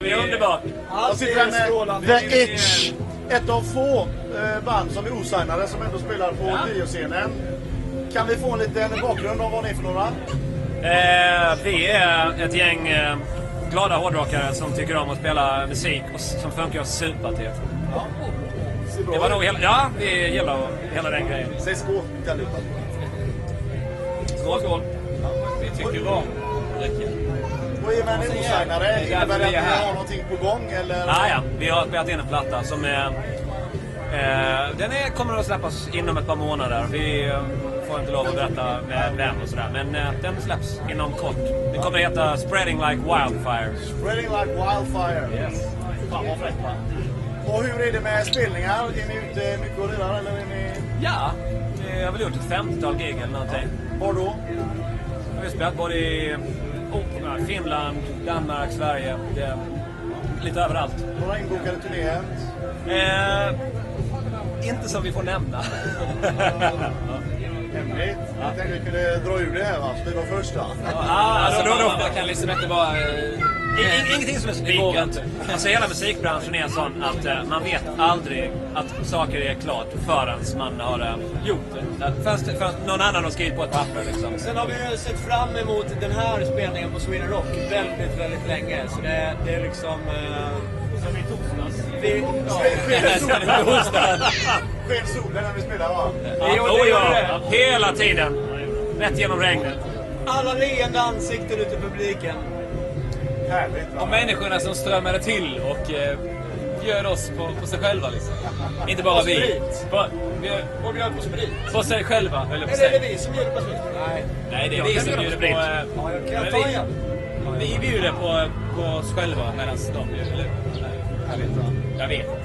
Det är underbart. Jag sitter här med The Itch. Ett av få eh, band som är osignade som ändå spelar på bioscenen. Kan vi få en liten bakgrund om vad ni är för några? Eh, vi är ett gäng eh, glada hårdrockare som tycker om att spela musik och s- som funkar super till. Ser bra Det var ut. nog hela, ja, vi gillar hela den grejen. Säg skål till allihopa. Skål, skål. Vi tycker om lycka. Och i och med att ni är osignade, Det är därför innebär det att vi är ni här. har någonting på gång eller? Ah, ja, vi har spelat in en platta som är... Eh, den är, kommer att släppas inom ett par månader. Vi eh, får inte lov att berätta vem- vem och sådär. Men eh, den släpps inom kort. Den kommer att heta Spreading Like Wildfire. Spreading like wildfire. Yes. Fan vad fräckt va? Och hur är det med spelningar? Är ni ute mycket och lirar eller är ni... Ja, eh, jag har väl gjort ett 50-tal gig eller någonting. Var då? Vi har spelat både i oh, Finland, Danmark, Sverige. Det, lite överallt. Några inbokade turnéer? Eh, inte som vi får nämna. Hemligt. Jag tänkte vi kunde dra ur det här va? Vi var först va? ah, Alltså, då, då, då. man, man kan liksom inte bara... eh, I- i- Ingenting som är går spikat. inte. Alltså hela musikbranschen är sån att eh, man vet aldrig att saker är klart förrän man har eh, gjort det. Att Förrän, förrän någon annan har skrivit på ett papper liksom. Sen har vi ju sett fram emot den här spelningen på Sweden Rock väldigt, väldigt länge. Så det, det är liksom... Eh, Som i torsdags. Vi, ja, Sken solen. Sken solen när vi spelar va? Ja, Jo, det oh, gör ja. det. Hela tiden. Rätt genom regnet. alla leende ansikten ute i publiken. Härligt Och va? människorna som strömmade till och eh, bjöd oss på, på sig själva liksom. Inte bara På vi. sprit. På, vi. Och bjöd på sprit. På sig själva, höll jag på att Eller är det säga. vi som bjuder på sprit? Nej. Nej, det är Jag vi kan som bjuda på bjuder på... sprit. eh, Ja, jag kan men ta vi- igen. Vi bjuder på, på oss själva medan de bjuder. Eller? Nej, jag vet inte. Jag vet inte.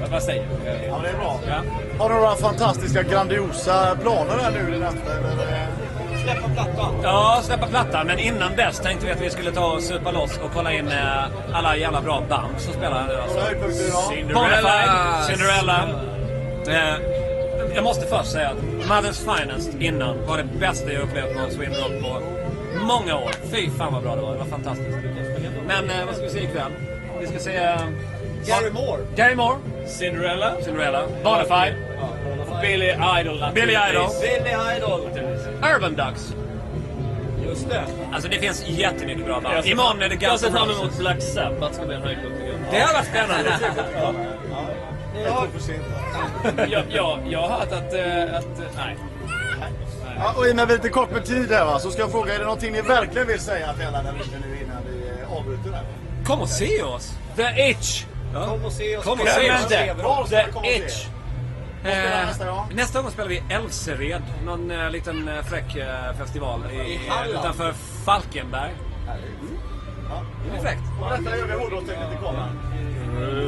Vad- Vad säger du? Jag vet Ja inte. det är bra. Ja. Har du några fantastiska grandiosa planer här nu i natt eller? eh? Släppa plattan. Ja, släppa plattan. Men innan dess tänkte vi att vi skulle ta och supa loss och kolla in eh, alla jävla bra band som spelar här nu alltså. Några höjdpunkter idag? Bonafide, Cinderella. Eh, jag måste först säga att Mothers Finest innan var det bästa jag upplevt på Sweden Rock på många år. Fy fan vad bra det var. Det var fantastiskt. Men eh, vad ska vi se ikväll? Vi ska se... eh, Gary Moore. Gary Moore, Cinderella. Cinderella. Bonafide. Billy Idol naturligtvis. Billy Idol. Billy Idol. Urban Ducks. Just det. Alltså det finns jättemycket bra Jag band. ser- Imorgon är det Jag Guns ser N' fram emot Roses. Black Sabbath som är en höjdpunkt tycker jag. Det här var spännande. Det är för sent. jag, jag, jag har hört att... eh, att eh, nej. Ja, och i och med att vi är lite kort med tid här va, så ska jag fråga, är det någonting ni verkligen vill säga till alla där ute nu innan vi eh, avbryter här? Kom och se oss! The Itch! Kom och se oss. Kom och på se oss. Sweden Rock. Bra, så The jag kommer och se. Itch! spelar Eh, nästa gång? Nästa gång spelar vi Elsered, någon eh, liten eh, fräck eh, festival i, Halland. utanför Falkenberg. Det blir fräckt. Och detta gör vi hårdrocksteknikerkameran.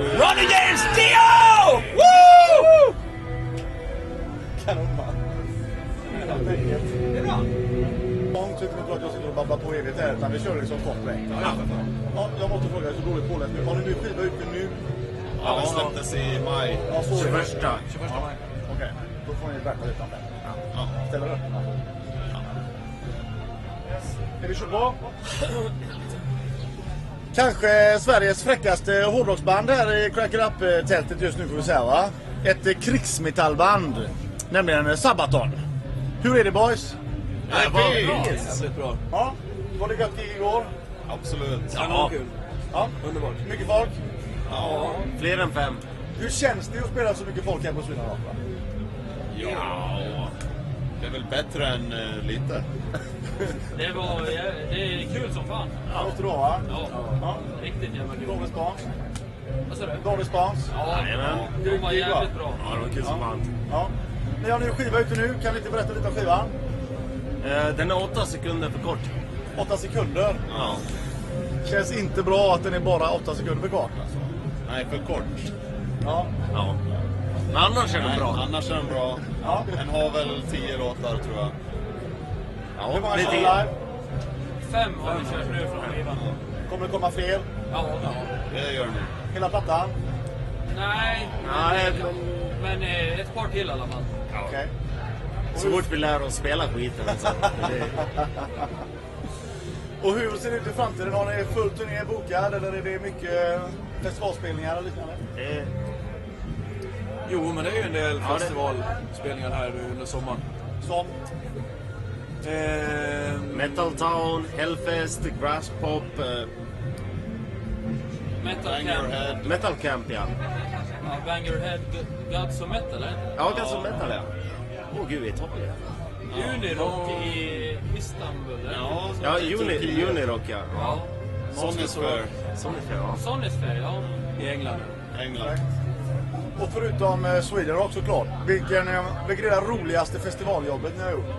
Ronny James Dio! Woo! Kanon va? Helt enkelt. Det är bra. Långt ut mot att jag sitter och babblar på evigt här utan vi kör liksom kort väg. Ja, jag måste fråga, så dåligt påläst nu. Har ni ny skiva ute nu? Ja, den släpptes i maj. Ja, så är det. 21 maj. Okej, då får ni verka utan det. Ja. Ställer du upp? Är vi så bra? Kanske Sveriges fräckaste hårdrocksband här i Crack It Up-tältet just nu får vi säga va? Ett eh, krigsmetallband, nämligen eh, Sabaton. Hur är det boys? Det var jävligt bra. Ja, var det gött gig igår? Absolut. Ja, Ja, underbart. Mycket folk? fler än fem. Hur känns det att spela så mycket folk här på Sweden Rock? va? Ja. Det är väl bättre än eh, lite. Det, var, det är kul som fan. Det låter bra va? Ja. Riktigt jävla Bra respons. Vad sa du? Bra respons. Ja, de var jävligt bra. det var kul som fan. Ja. Ni har nu skiva ute nu. Kan ni inte berätta lite om skivan? Eh, Den är åtta sekunder för kort. 8 sekunder. Ja. Känns inte bra att den är bara 8 sekunder för kort. Alltså. Nej, för kort. Ja. Ja. Men annars är Nej, annars är den bra. Ja. Den har väl tio låtar tror jag. Hur många kör lite. live? Fem har vi kört nu från skivan. Kommer det komma fler? Ja, ja. Det gör den. Hela plattan? Nej, Nej, men, men eh, ett par till i alla fall. Okej. Så fort vi lär oss spela skiten. Alltså. Det är- Och hur ser det ut i framtiden? Har ni full turné bokad eller är det mycket festivalspelningar och liknande? Jo, men det är ju en del festivalspelningar här nu under sommaren. Som? Ehm, Metal Town, Hellfest, Grass Pop, eh, Metal Bang Your Camp. Head. Metal Camp, ja. Ja, Bang Your Head, Guts och Metal, eller? Ja, Guns N' Metal, ja. Åh gud, vi tar det. Unirock i Istanbul, eller? Ja, Ja, i Uni, Turkiet. Unirock, ja. ja. Sonisphere, Sonisphere, ja. Sonisphere, ja. I England. England. Och förutom eh, Sweden Rock såklart. Vilken, eh, vilket är det roligaste festivaljobbet ni har gjort?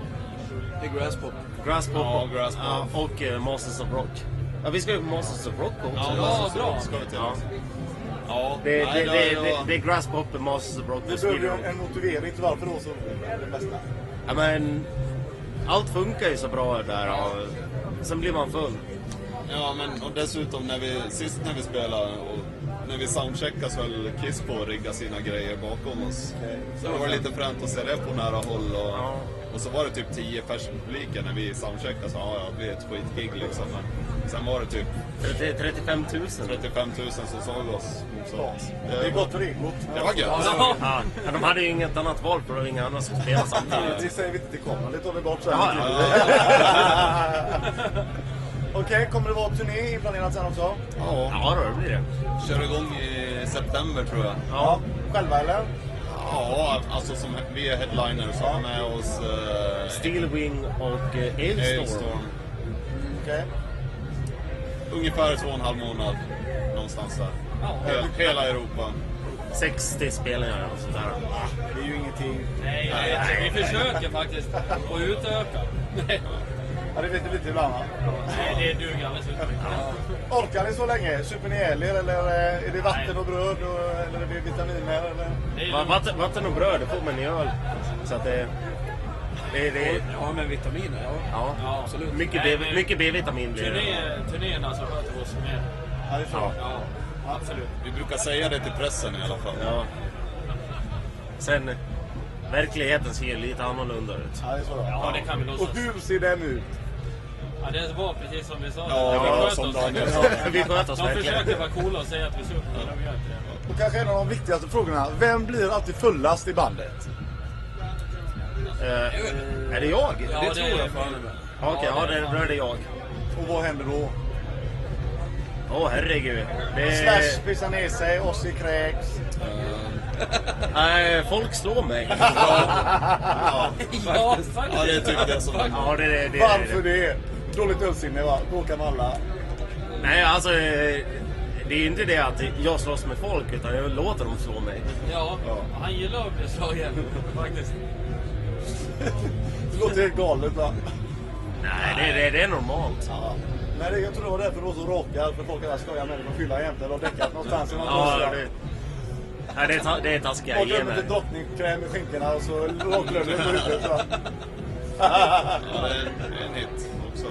Det är Grasspop. Grasspop. Ja, Grasspop. Ja, och eh, Masters of Rock. Ja, vi ska ju på Masters of Rock också. Ja, bra. Ska vi till. Ja. Ja, Det, det, nej, det, då- det, det är Grasspop, Masters of Rock Vi och behöver ju Sweden Rock. en- en motivering till varför då så är det bästa. Ja, men allt funkar ju så bra där. Och sen blir man full. Ja, men och dessutom när vi, sist när vi spelade och när vi soundcheckade så höll Kiss på att rigga sina grejer bakom oss. Så det var lite fränt att se det på nära håll Ja. och, och så var det typ 10 pers i publiken när vi soundcheckade så ja, ja, det blir ett skitgig liksom. Men sen var det typ 30, 35 000. 35 000 som såg oss. Så, Eh, Det är gott för egot. det var gött. Ja, de hade ju inget annat val för det var inga andra som spelade samtidigt. Det säger vi inte till kameran, det tar vi bort sen. Ja, Okej, kommer det vara turné inplanerat sen också? Ja, Ja, då, det blir det. kör igång i september tror jag. Ja. Själva eller? Ja, alltså som, vi är headliners och har med oss eh, Steelwing och eh, Ailstorm. Hailstorm. Okej. Ungefär två och en halv månad. Någonstans där. He- Hela Europa. 60 spelningar och sådär. Det är ju ingenting. Nej, nej, vi försöker faktiskt att utöka. Ja, det vet ni lite ibland va? Nej, det duger alldeles utmärkt. Orkar ni så länge? E Super ni ihjäl er eller eh, är det vatten och bröd och, eller är det vitaminer? Eller? Det är Va- lugnt. Vatten, vatten och bröd, det får man i öl. Så att det... det, det Ja, men vitaminer. Ja. ja, Ja, absolut. Mycket, Nej, B, men- mycket B-vitamin blir det. Turné, turnéerna så sköter vi oss med. Ja, det är så. Ja, absolut. Vi brukar säga det till pressen i alla fall. Ja. Sen, verkligheten ser ju lite annorlunda ut. Ja, det är så. Ja, det kan vi Och låtsas. hur ser den ut? Ja, det var precis som vi sa. Ja, vi ja, sköt som oss. Daniel sa. Vi sköter oss De verkligen. försöker vara coola och säga att vi super, men de gör inte det. Och kanske en av de viktigaste frågorna. Vem blir alltid fullast i bandet? Eh, är det jag? Ja, det tror det är- jag fan. Okej, ja, det är, då är det jag. Och vad händer då? Åh herregud. Eh. Det Slash pissar ner sig, Ossi kräks. Nej, folk slår mig. Ja, faktiskt. Ja, det är typ det som... Ja, det, det, det, Varför det? Dåligt ölsinne va? Bråkar med alla. Nej, alltså. eh, Det är ju inte det att jag slåss med folk, utan jag låter dem slå mig. Ja, han gillar att bli slagen faktiskt. Det låter helt galet va? Nej, det, det, det är normalt. Ja. Nej, det- jag tror det var därför det var så råkar. För folk alla skojar med det. De fyller jämt eller har däckat någonstans. i någon Ja, konstig- det, nej, det, är, ta- det är taskiga Och glömmer gener. lite drottningkräm i skinkorna och så råklöver på huvudet. va? Ja, det är en, en hit också.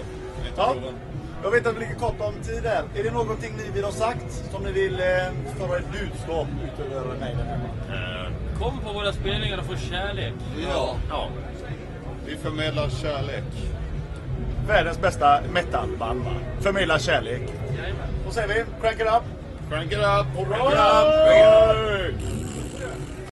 Hit och Ja. proven. Jag vet att det ligger kort om tid här. Är det någonting ni vill ha sagt som ni vill eh, föra ett budskap ut över mig? den här gången? Eh, Kom på våra spelningar och få kärlek. Ja, Ja, vi förmedlar kärlek. Världens bästa metalband va? Förmedla kärlek. Jajamän. Då säger vi, crank it up! Crank it up! Crank it up!